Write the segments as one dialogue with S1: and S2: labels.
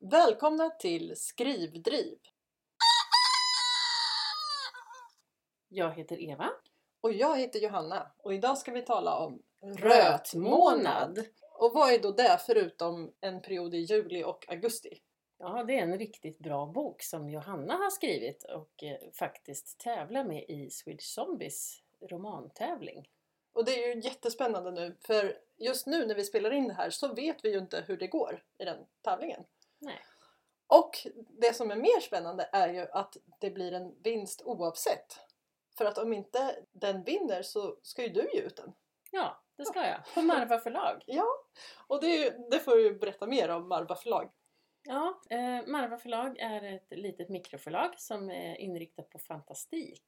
S1: Välkomna till Skrivdriv!
S2: Jag heter Eva.
S1: Och jag heter Johanna och idag ska vi tala om
S2: Rötmånad.
S1: Och vad är då det förutom en period i juli och augusti?
S2: Ja, det är en riktigt bra bok som Johanna har skrivit och eh, faktiskt tävlar med i Swedish Zombies romantävling.
S1: Och det är ju jättespännande nu för just nu när vi spelar in det här så vet vi ju inte hur det går i den tävlingen.
S2: Nej.
S1: Och det som är mer spännande är ju att det blir en vinst oavsett. För att om inte den vinner så ska ju du ge ut den.
S2: Ja, det ska jag. På Marva förlag.
S1: Och det, är ju, det får du ju berätta mer om Marva förlag.
S2: Ja, eh, Marva förlag är ett litet mikroförlag som är inriktat på fantastik.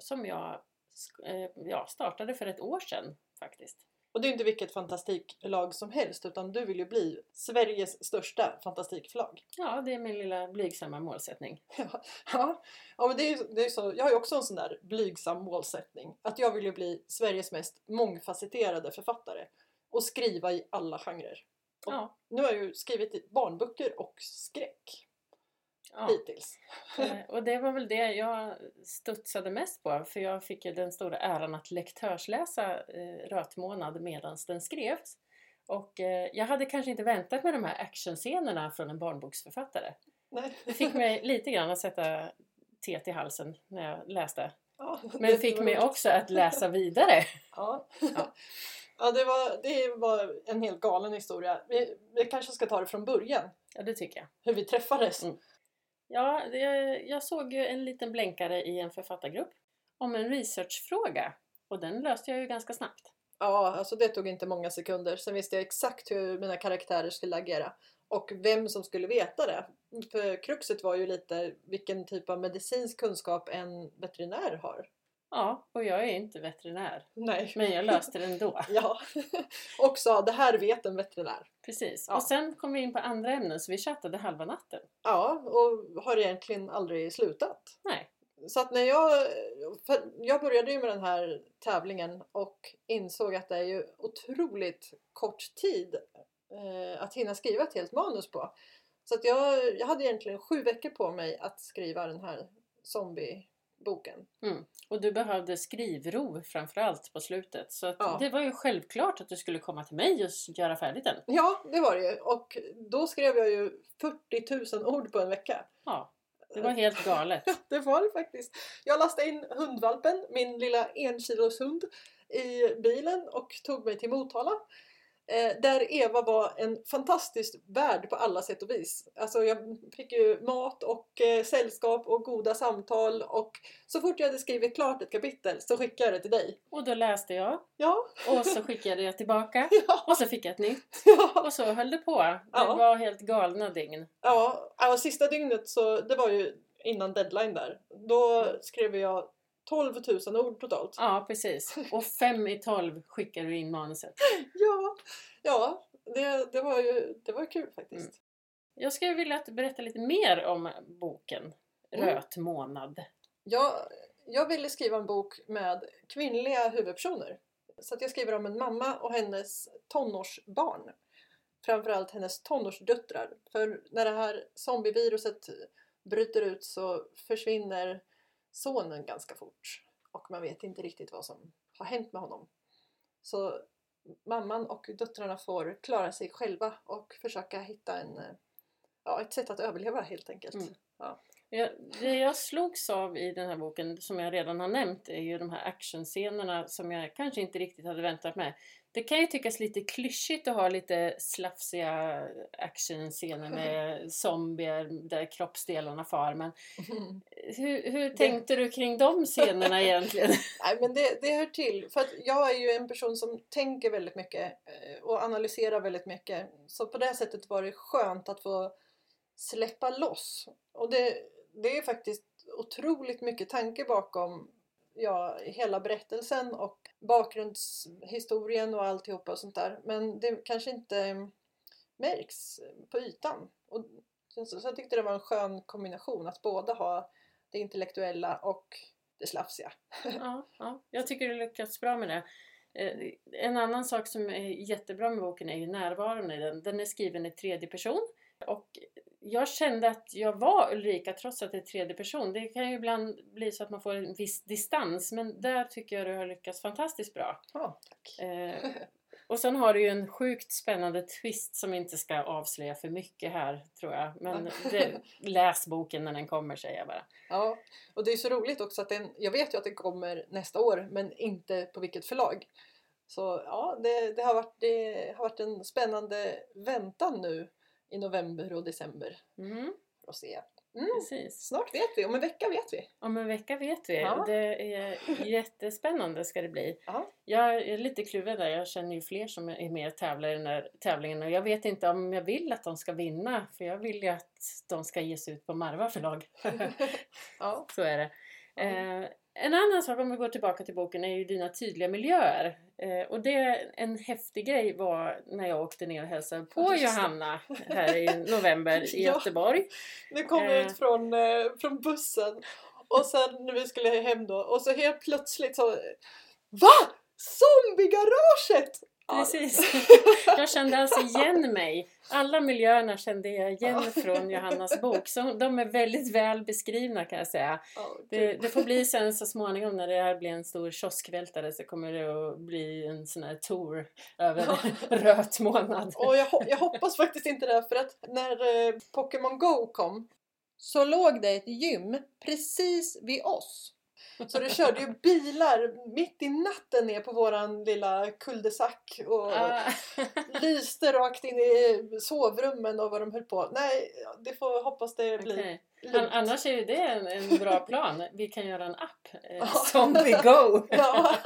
S2: Som jag sk- eh, ja, startade för ett år sedan faktiskt.
S1: Och det är ju inte vilket fantastiklag som helst utan du vill ju bli Sveriges största fantastikförlag.
S2: Ja, det är min lilla blygsamma målsättning.
S1: Ja, ja men det är, ju- det är ju så, jag har ju också en sån där blygsam målsättning. Att jag vill ju bli Sveriges mest mångfacetterade författare och skriva i alla genrer.
S2: Ja,
S1: Nu har jag ju skrivit i barnböcker och skräck
S2: ja.
S1: hittills.
S2: Eh, Och det var väl det jag studsade mest på för jag fick ju den stora äran att lektörsläsa eh, Rötmånad medan den skrevs. Och eh, jag hade kanske inte väntat mig de här actionscenerna från en barnboksförfattare.
S1: Nej.
S2: Det fick mig lite grann att sätta teet i halsen när jag läste.
S1: Ja,
S2: Men
S1: det
S2: fick
S1: var-
S2: mig också att läsa vidare.
S1: Ja.
S2: Ja.
S1: Ja, det var, det var en helt galen historia. Vi, vi kanske ska ta det från början,
S2: Ja, det tycker jag.
S1: hur vi träffades.
S2: Mm. Ja, det, jag såg ju en liten blänkare i en författargrupp om en researchfråga och den löste jag ju ganska snabbt.
S1: Ja, alltså det tog inte många sekunder. Sen visste jag exakt hur mina karaktärer skulle agera. Och vem som skulle veta det. För kruxet var ju lite vilken typ av medicinsk kunskap en veterinär har.
S2: Ja, och jag är inte veterinär.
S1: Nej.
S2: Men jag löste det ändå.
S1: Ja. Och sa det här vet en veterinär.
S2: Precis.
S1: Ja.
S2: Och sen kom vi in på andra ämnen så vi chattade halva natten.
S1: Ja, och har egentligen aldrig slutat.
S2: Nej.
S1: Så att när jag... För jag började ju med den här tävlingen och insåg att det är ju otroligt kort tid eh, att hinna skriva ett helt manus på. Så att jag, jag hade egentligen sju veckor på mig att skriva den här zombieboken.
S2: Och du behövde skrivro framförallt på slutet. Så att
S1: Ja.
S2: det var ju självklart att du skulle komma till mig och s- göra färdigt den.
S1: Ja, det var det ju. Och då skrev jag ju 40 000 ord på en vecka.
S2: Ja, det
S1: Eh.
S2: var helt galet.
S1: Det var det faktiskt. Jag lastade in hundvalpen, min lilla enkilos hund, i bilen och tog mig till Motala. Eh, där Eva var en fantastisk värd på alla sätt och vis. Alltså jag fick ju mat och eh, sällskap och goda samtal och så fort jag hade skrivit klart ett kapitel så skickade jag det till dig.
S2: Och då läste jag
S1: Ja,
S2: och så skickade jag tillbaka.
S1: ja,
S2: Och så fick jag ett nytt.
S1: ja.
S2: Och så höll det på. Det
S1: Ja.
S2: var helt galna dygn.
S1: Ja, alltså, sista dygnet så, det var ju innan deadline där. Då skrev jag 12 000 ord totalt.
S2: Ja, precis. Och fem i tolv skickade du in manuset.
S1: Ja, ja det, det var ju det var kul faktiskt.
S2: Mm. Jag skulle vilja att du berättar lite mer om boken
S1: Mm.
S2: Röt månad.
S1: Jag, jag ville skriva en bok med kvinnliga huvudpersoner. Så att jag skriver om en mamma och hennes tonårsbarn. Framförallt hennes tonårsdöttrar. För när det här zombieviruset bryter ut så försvinner sonen ganska fort. Och man vet inte riktigt vad som har hänt med honom. Så mamman och döttrarna får klara sig själva och försöka hitta en, eh, ja, ett sätt att överleva helt enkelt.
S2: Mm. Jag, det jag slogs av i den här boken, som jag redan har nämnt, är ju de här actionscenerna som jag kanske inte riktigt hade väntat mig. Det kan ju tyckas lite klyschigt att ha lite slafsiga actionscener med zombier där kroppsdelarna far, men hur, hur tänkte du kring de scenerna egentligen?
S1: Nej men det, det hör till. För att jag är ju en person som tänker väldigt mycket eh, och analyserar väldigt mycket. Så på det sättet var det skönt att få släppa loss. Och det, det är faktiskt otroligt mycket tanke bakom ja, hela berättelsen och bakgrundshistorien och alltihopa och sånt där. Men det kanske inte eh, märks på ytan. Och så, så jag tyckte det var en skön kombination att både ha det intellektuella och det slafsiga.
S2: Ja, ja, jag tycker du lyckats bra med det. Eh, En annan sak som är jättebra med boken är ju närvaron i den. Den är skriven i tredje person och jag kände att jag var Ulrika trots att det är tredje person. Det kan ju ibland bli så att man får en viss distans men där tycker jag du har lyckats fantastiskt bra.
S1: Ja, tack.
S2: Eh, och sen har du ju en sjukt spännande twist som inte ska avslöja för mycket här tror jag. Men det, läs boken när den kommer säger jag bara.
S1: Ja, och det är så roligt också att den, jag vet ju att den kommer nästa år men inte på vilket förlag. Så ja, det, det, har, varit, det har varit en spännande väntan nu i november och december.
S2: Mm,
S1: För att se.
S2: precis.
S1: Snart vet vi, om en vecka vet vi.
S2: Om en vecka vet vi.
S1: Ja.
S2: och Det är jättespännande ska det bli.
S1: Ja.
S2: Jag är lite kluven där. Jag känner ju fler som är med och tävlar i den här tävlingen. Och jag vet inte om jag vill att de ska vinna. För jag vill ju att de ska ge sig ut på Marva förlag.
S1: Ja.
S2: Så är det.
S1: Ja.
S2: Eh, en annan sak om vi går tillbaka till boken är ju dina tydliga miljöer. Eh, och det, en häftig grej var när jag åkte ner och hälsade på
S1: Just det.
S2: Johanna här i november i
S1: Ja.
S2: Göteborg.
S1: Vi kom vi
S2: Eh.
S1: ut från, eh, från bussen och sen när vi skulle hem då och så helt plötsligt så VA? Zombiegaraget! Ja,
S2: Precis. Jag kände alltså igen mig. Alla miljöerna kände jag igen
S1: Ja.
S2: från Johannas bok. Så de är väldigt väl beskrivna kan jag säga.
S1: ja,
S2: Det, det får bli sen så småningom när det här blir en stor kioskvältare så kommer det att bli en sån här tour över röt månad.
S1: Och jag, hop- jag hoppas faktiskt inte det för att när eh, Pokémon Go kom så låg det ett gym precis vid oss. Så det körde ju bilar mitt i natten ner på våran lilla kuldesack och
S2: Ah,
S1: lyste rakt in i sovrummen och vad de höll på. Nej, det får hoppas det blir
S2: okej. An-
S1: lugnt.
S2: Annars är ju det en, en bra plan. Vi kan göra en app.
S1: Ja.
S2: Eh, Zombie Go!
S1: Ja.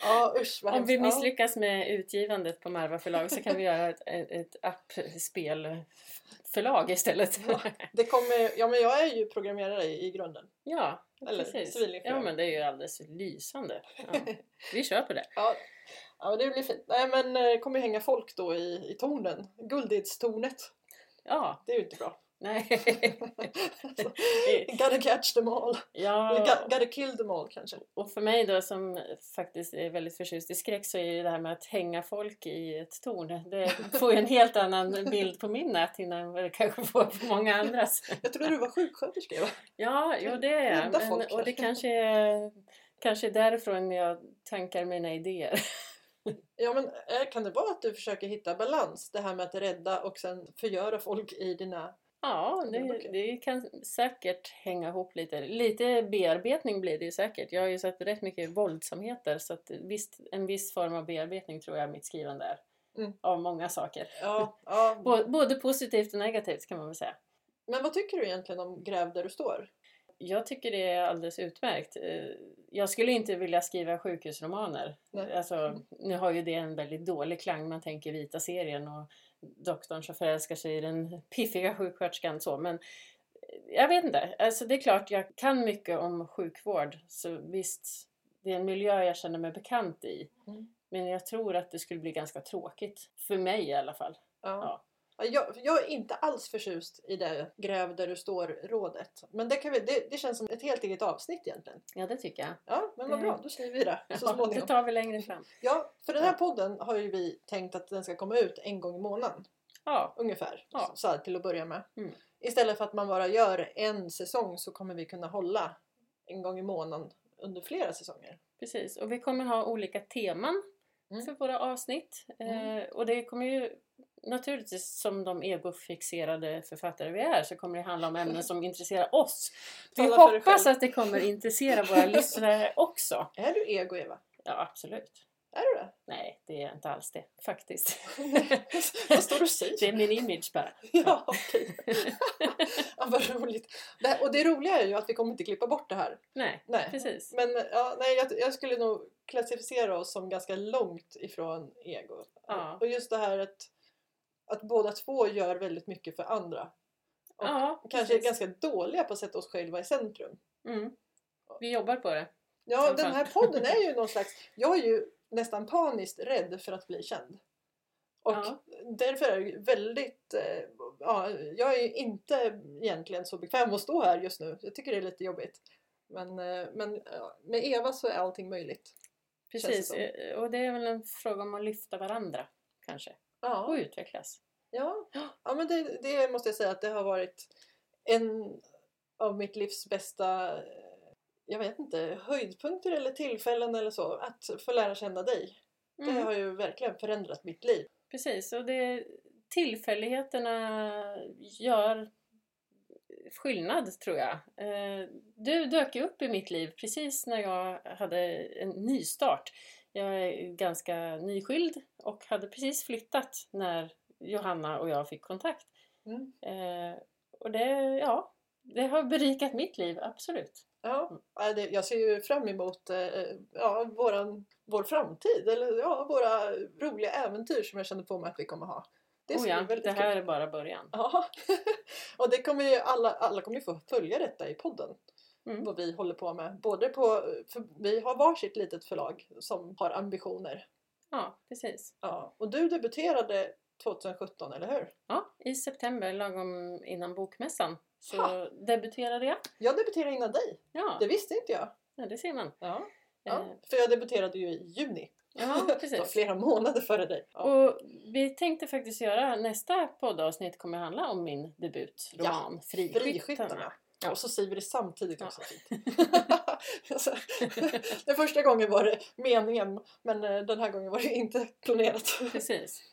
S1: ja usch vad
S2: Om vi
S1: hemskt. Ja.
S2: misslyckas med utgivandet på Marva förlag så kan vi göra ett, ett, ett app-spelförlag istället.
S1: Ja. Det kommer, ja men jag är ju programmerare i i grunden.
S2: Ja,
S1: Eller
S2: precis.
S1: civilingenjör.
S2: Ja, men det är ju alldeles lysande. Ja. Vi kör på det.
S1: Ja, ja men det blir fint. Nej men eh, det kommer ju hänga folk då i, i tornen. Guldidstornet.
S2: Ja,
S1: Det är ju inte bra.
S2: nej.
S1: Alltså, gotta catch them all. Eller
S2: Ja,
S1: go- gotta kill them all kanske.
S2: och för mig då som faktiskt är väldigt förtjust i skräck så är ju det här med att hänga folk i ett torn. Det får ju en helt annan bild på min näthinna än vad det kanske får på många andras.
S1: Jag tror du var sjuksköterska va?
S2: Ja, jo det är jag.
S1: Rädda
S2: Men,
S1: folk,
S2: och det
S1: kanske.
S2: kanske är, kanske är därifrån jag tankar mina idéer.
S1: Ja men eh, kan det vara att du försöker hitta balans? Det här med att rädda och sen förgöra folk i dina...
S2: Ja,
S1: Det är
S2: det,
S1: okej.
S2: det kan säkert hänga ihop lite. Lite bearbetning blir det ju säkert. Jag har ju sett rätt mycket våldsamheter så att visst, en viss form av bearbetning tror jag mitt skrivande är.
S1: Mm.
S2: Av många saker.
S1: Ja, ja.
S2: Bå- Både positivt och negativt kan man väl säga.
S1: Men vad tycker du egentligen om Gräv där du står?
S2: Jag tycker det är alldeles utmärkt. Eh, Jag skulle inte vilja skriva sjukhusromaner.
S1: Nej.
S2: Alltså, nu har ju det en väldigt dålig klang. Man tänker vita serien och doktorn som förälskar sig i den piffiga sjuksköterskan. Så. Men jag vet inte. Alltså, det är klart jag kan mycket om sjukvård. Så visst, det är en miljö jag känner mig bekant i.
S1: Mm.
S2: Men jag tror att det skulle bli ganska tråkigt. För mig i alla fall.
S1: Ja. Ja, Jag, jag är inte alls förtjust i det gräv där du står-rådet. Men det, kan vi, det, det känns som ett helt eget avsnitt egentligen.
S2: Ja, det tycker jag.
S1: Ja, men vad bra, då skriver vi Mm. det så
S2: Ja, det
S1: småningom.
S2: tar vi längre fram.
S1: Ja, för den här podden har ju vi tänkt att den ska komma ut en gång i månaden
S2: Ja,
S1: ungefär.
S2: Ja.
S1: Så här till att börja med.
S2: Mm.
S1: Istället för att man bara gör en säsong så kommer vi kunna hålla en gång i månaden under flera säsonger.
S2: Precis, och vi kommer ha olika teman
S1: Mm.
S2: för våra avsnitt. Eh, och det kommer ju naturligtvis som de egofixerade författare vi är så kommer det handla om ämnen som intresserar oss. Vi
S1: Tala för dig
S2: hoppas
S1: själv.
S2: att det kommer intressera våra lyssnare också.
S1: Är du ego Eva?
S2: Ja, absolut.
S1: Är du det?
S2: Nej, det är inte alls det faktiskt.
S1: Vad står du och säger?
S2: Det är min image bara.
S1: Ja, okej. ja, vad roligt. Det här, och det roliga är ju att vi kommer inte klippa bort det här.
S2: Nej,
S1: Nej.
S2: precis.
S1: Men ja, nej, jag, jag skulle nog klassificera oss som ganska långt ifrån ego.
S2: Ja.
S1: Och just det här att, att båda två gör väldigt mycket för andra. Och
S2: Ja,
S1: Kanske är
S2: precis.
S1: ganska dåliga på att sätta oss själva i centrum.
S2: Mm. Vi jobbar på det.
S1: Ja,
S2: Som
S1: den här podden är ju någon slags... Jag är ju nästan paniskt rädd för att bli känd. Och
S2: Ja.
S1: därför är det ju väldigt... eh, Ja, jag är ju inte egentligen så bekväm att stå här just nu. Jag tycker det är lite jobbigt. Men, eh, men ja, med Eva så är allting möjligt.
S2: Precis,
S1: som.
S2: eh, och det är väl en fråga om att lyfta varandra kanske.
S1: Ja.
S2: Och utvecklas.
S1: Ja, ja men det, det måste jag säga att det har varit en av mitt livs bästa eh, jag vet inte, höjdpunkter eller tillfällen eller så. Att få lära känna dig. Det
S2: Mm.
S1: har ju verkligen förändrat mitt liv.
S2: Precis, och det, tillfälligheterna gör skillnad tror jag. Eh, Du dök ju upp i mitt liv precis när jag hade en nystart. Jag är ganska nyskild och hade precis flyttat när Johanna och jag fick kontakt.
S1: Mm.
S2: Eh, Och det, ja, det har berikat mitt liv, absolut.
S1: Ja, ja, det- jag ser ju fram emot eh, ja, våran, vår framtid, eller ja, våra roliga äventyr som jag känner på mig att vi kommer ha. Det
S2: Oh
S1: ska
S2: ja,
S1: bli väldigt
S2: det här
S1: kul.
S2: är bara början.
S1: Ja, och det kommer ju alla, alla kommer ju få följa detta i podden.
S2: Mm.
S1: Vad vi håller på med. Både på, för vi har varsitt litet förlag som har ambitioner.
S2: Ja, precis.
S1: Ja, och du debuterade 2017, eller hur?
S2: Ja, i september, lagom innan bokmässan, så
S1: Ha.
S2: debuterade jag.
S1: Jag debuterade innan dig.
S2: Ja,
S1: Det visste inte jag.
S2: ja, det ser man.
S1: Ja,
S2: Eh,
S1: ja. För jag debuterade ju i juni.
S2: ja
S1: Det var
S2: precis.
S1: flera månader före dig. Ja.
S2: Och vi tänkte faktiskt göra nästa poddavsnitt kommer handla om min debutroman Friskyttarna.
S1: Friskyttarna.
S2: Ja.
S1: Och så säger vi det samtidigt
S2: Ja.
S1: också. Alltså, den första gången var det meningen men eh, den här gången var det inte planerat.
S2: Precis.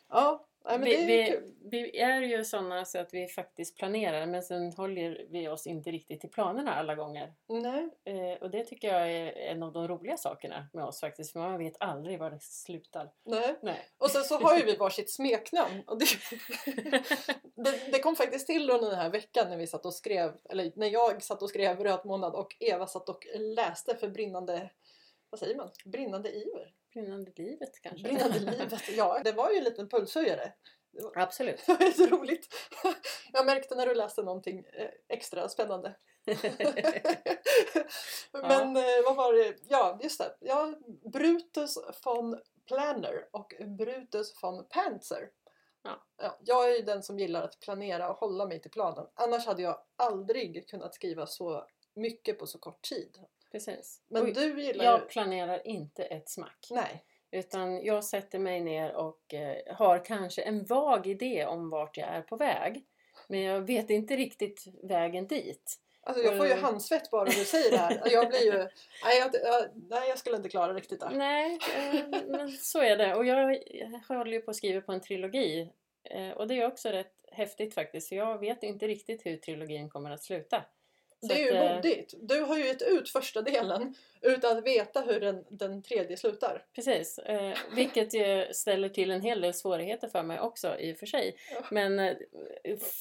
S1: Ja, nej, men
S2: vi,
S1: det är ju
S2: vi,
S1: kul.
S2: vi är ju sådana så att vi faktiskt planerar men sen håller vi oss inte riktigt till planerna alla gånger.
S1: Nej,
S2: Eh, och det tycker jag är en av de roliga sakerna med oss faktiskt för man vet aldrig var det slutar.
S1: nej.
S2: Nej.
S1: Och sen så har ju vi varsitt smeknamn. Och det, det, det kom faktiskt till under den här veckan när vi satt och skrev, eller när jag satt och skrev Röd månad och Eva satt och läste för brinnande, vad säger man, brinnande iver.
S2: Brinnande livet kanske?
S1: Brinnande livet. Ja, det var ju en liten pulshöjare. Det var-
S2: Absolut.
S1: Det var så roligt. Jag märkte när du läste någonting eh, extra spännande. Men eh, vad var det? Ja, just det. Ja, Brutus von Planner och Brutus von Panzer.
S2: Ja.
S1: jag är ju den som gillar att planera och hålla mig till planen. Annars hade jag aldrig kunnat skriva så mycket på så kort tid.
S2: Precis.
S1: Men
S2: Oj,
S1: du gillar ju...
S2: jag planerar inte ett smack.
S1: Nej.
S2: Utan jag sätter mig ner och eh, har kanske en vag idé om vart jag är på väg. Men jag vet inte riktigt vägen dit.
S1: Alltså jag får ju
S2: Mm.
S1: handsvett bara du säger det här. Jag blir ju... Nej, jag, jag, nej, jag skulle inte klara riktigt det.
S2: Nej, eh, men så är det. Och jag håller ju på att skriva på en trilogi. Eh, och det är också rätt häftigt faktiskt. För jag vet inte riktigt hur trilogin kommer att sluta. Så
S1: Det är
S2: att, eh,
S1: ju modigt. Du har ju gett ut första delen utan att veta hur den, den tredje slutar.
S2: Precis, eh, vilket ju ställer till en hel del svårigheter för mig också i och för sig.
S1: Ja.
S2: Men eh,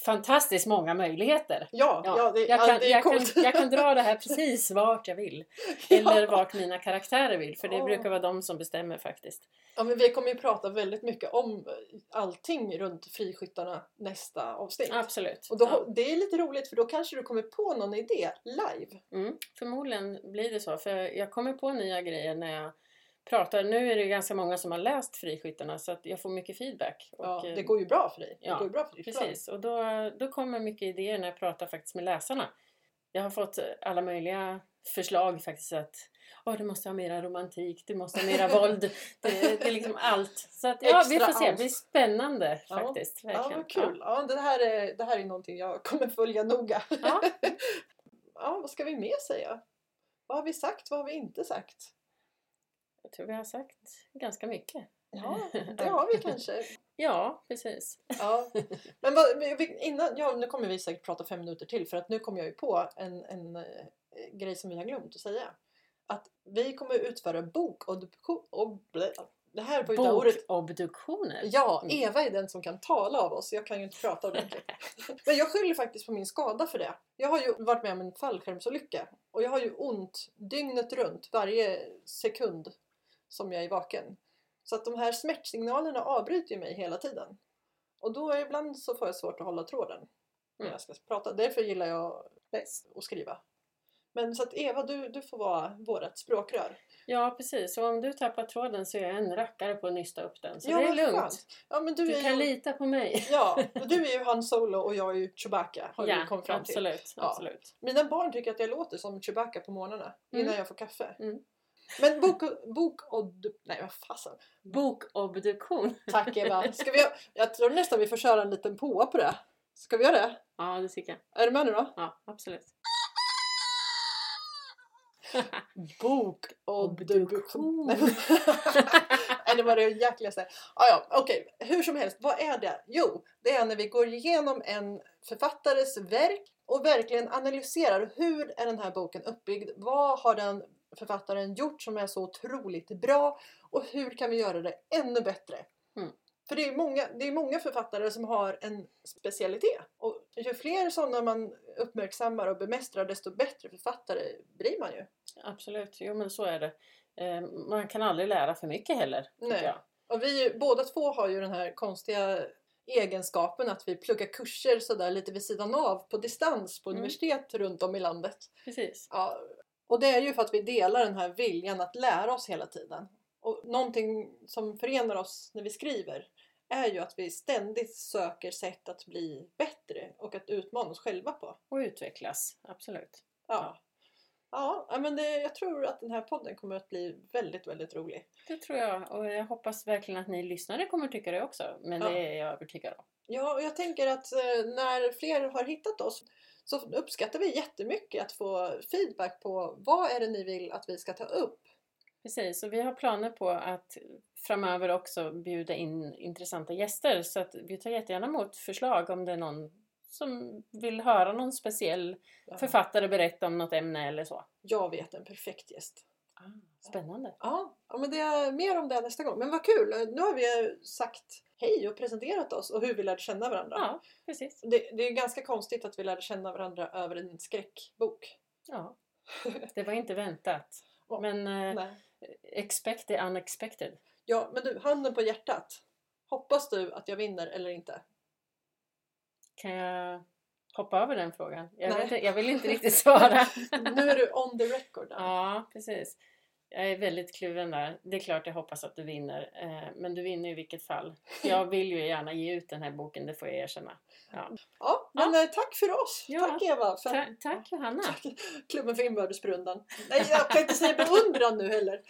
S2: fantastiskt många möjligheter.
S1: Ja, ja,
S2: Ja,
S1: det,
S2: jag,
S1: ja,
S2: kan,
S1: det är
S2: jag, kan,
S1: coolt.
S2: jag kan dra det här precis vart jag vill. Eller vart mina karaktärer vill, för det
S1: Ja.
S2: brukar vara de som bestämmer faktiskt.
S1: ja, men vi kommer ju prata väldigt mycket om eh, allting runt friskyttarna nästa avsnitt.
S2: Absolut.
S1: Och då,
S2: ja.
S1: Det är lite roligt för då kanske du kommer på någon idé live.
S2: mm. Förmodligen blir det så, för jag kommer på nya grejer när jag pratar. Nu är det ganska många som har läst Friskyttarna så att jag får mycket feedback.
S1: Ja,
S2: Och, eh,
S1: det går ju bra för dig.
S2: ja,
S1: det går ju bra för ditt plan.
S2: Precis, och då, då kommer mycket idéer när jag pratar faktiskt med läsarna. Jag har fått alla möjliga förslag faktiskt att åh du måste ha mera romantik, du måste ha mera våld, det, det är liksom allt. Så att, ja, vi
S1: Extra
S2: får se, det
S1: allt.
S2: blir spännande
S1: Ja.
S2: faktiskt.
S1: Ja,
S2: verkligen.
S1: vad kul. Ja, det, här är, det här är någonting jag kommer följa noga.
S2: Ja.
S1: Ja, vad ska vi mer säga? Vad har vi sagt? Vad har vi inte sagt?
S2: Jag tror vi har sagt ganska mycket.
S1: Ja, Eh, det har vi kanske.
S2: Ja, precis.
S1: Ja. Men vad, vi- vi- innan, ja, nu kommer vi säkert prata fem minuter till för att nu kom jag ju på en, en eh, grej som vi har glömt att säga. Att vi kommer utföra bokobduktion. ob- blä- Det här var ju det ordet.
S2: Bokobduktioner.
S1: Ja, e-
S2: Mm.
S1: Eva är den som kan tala av oss. Jag kan ju inte prata ordentligt. Men jag skyller faktiskt på min skada för det. Jag har ju varit med om en fallskärmsolycka och jag har ju ont dygnet runt varje sekund som jag är vaken. Så att de här smärtsignalerna avbryter ju mig hela tiden. Och då är ibland så får jag svårt att hålla tråden när
S2: Mm.
S1: jag ska prata. Därför gillar jag
S2: Bäst.
S1: att skriva. Men så att Eva, du, du får vara vårt språkrör.
S2: Ja, precis. Och om du tappar tråden så är jag en rackare på att nysta upp den. Så
S1: Ja,
S2: det är
S1: vad
S2: lugnt.
S1: skönt. Ja, men du,
S2: Du
S1: är
S2: kan
S1: ju...
S2: lita på mig.
S1: Ja, och du är ju Han Solo och jag är ju Chewbacca har vi kommit fram till.
S2: absolut.
S1: Ja.
S2: absolut.
S1: Mina barn tycker att jag låter som Chewbacca på morgnarna innan
S2: Mm.
S1: jag får kaffe.
S2: Mm.
S1: Men bok, bok och... Nej, vad fasen.
S2: Bokobduktion.
S1: Tack Eva. Ska vi, jag tror nästan vi får köra en liten påa på det. Ska vi göra det?
S2: Ja, det tycker jag.
S1: Är du med nu då?
S2: Ja, absolut.
S1: Bokobduktion. Nej, det var det jäkligaste. Ah, ja, okej. Hur som helst, vad är det? Jo, det är när vi går igenom en författares verk och verkligen analyserar hur är den här boken uppbyggd? Vad har den författaren gjort som är så otroligt bra? Och hur kan vi göra det ännu bättre?
S2: Mm.
S1: För det är, många, det är många författare som har en specialitet. Och ju fler sådana man uppmärksammar och bemästrar desto bättre författare blir man ju.
S2: Absolut, jo men så är det. Eh, Man kan aldrig lära för mycket heller. tycker
S1: Nej.
S2: Jag.
S1: Och vi ju- båda två har ju den här konstiga egenskapen att vi pluggar kurser sådär lite vid sidan av på distans på
S2: Mm.
S1: universitet runt om i landet.
S2: Precis.
S1: Ja, och det är ju för att vi delar den här viljan att lära oss hela tiden. Och någonting som förenar oss när vi skriver är ju att vi ständigt söker sätt att bli bättre och att utmana oss själva på.
S2: Och utvecklas, absolut.
S1: Ja, ja ja, men det, jag tror att den här podden kommer att bli väldigt, väldigt rolig.
S2: Det tror jag och jag hoppas verkligen att ni lyssnare kommer tycka det också. Men
S1: Ja.
S2: det är jag övertygad om.
S1: Ja, och jag tänker att eh, när fler har hittat oss så uppskattar vi jättemycket att få feedback på vad är det ni vill att vi ska ta upp.
S2: Precis, och vi har planer på att framöver också bjuda in intressanta gäster så att vi tar jättegärna emot förslag om det är någon som vill höra någon speciell
S1: Ja.
S2: författare berätta om något ämne eller så.
S1: Jag vet en perfekt gäst.
S2: Spännande!
S1: Ja, ja, men det är mer om det nästa gång. Men vad kul! Nu har vi sagt hej och presenterat oss och hur vi lärde känna varandra.
S2: Ja, precis.
S1: Det, det är ganska konstigt att vi lärde känna varandra över en skräckbok.
S2: Ja. Det var inte väntat.
S1: Ja.
S2: Men eh,
S1: Nej.
S2: expect the unexpected.
S1: Ja, men du, handen på hjärtat. Hoppas du att jag vinner eller inte?
S2: Kan jag hoppa över den frågan? Jag,
S1: Nej.
S2: vet, inte- jag vill inte riktigt svara.
S1: Nu är du on the record. där.
S2: ja, precis. Jag är väldigt kluven där. Det är klart jag hoppas att du vinner. eh, Men du vinner i vilket fall. Jag vill ju gärna ge ut den här boken, det får jag erkänna.
S1: Ja, men eh, tack för oss!
S2: Ja.
S1: Tack Eva! För
S2: Ta- tack Johanna!
S1: Tack. Klubben för inbördesbrundan. Nej, jag kan inte säga beundran nu heller.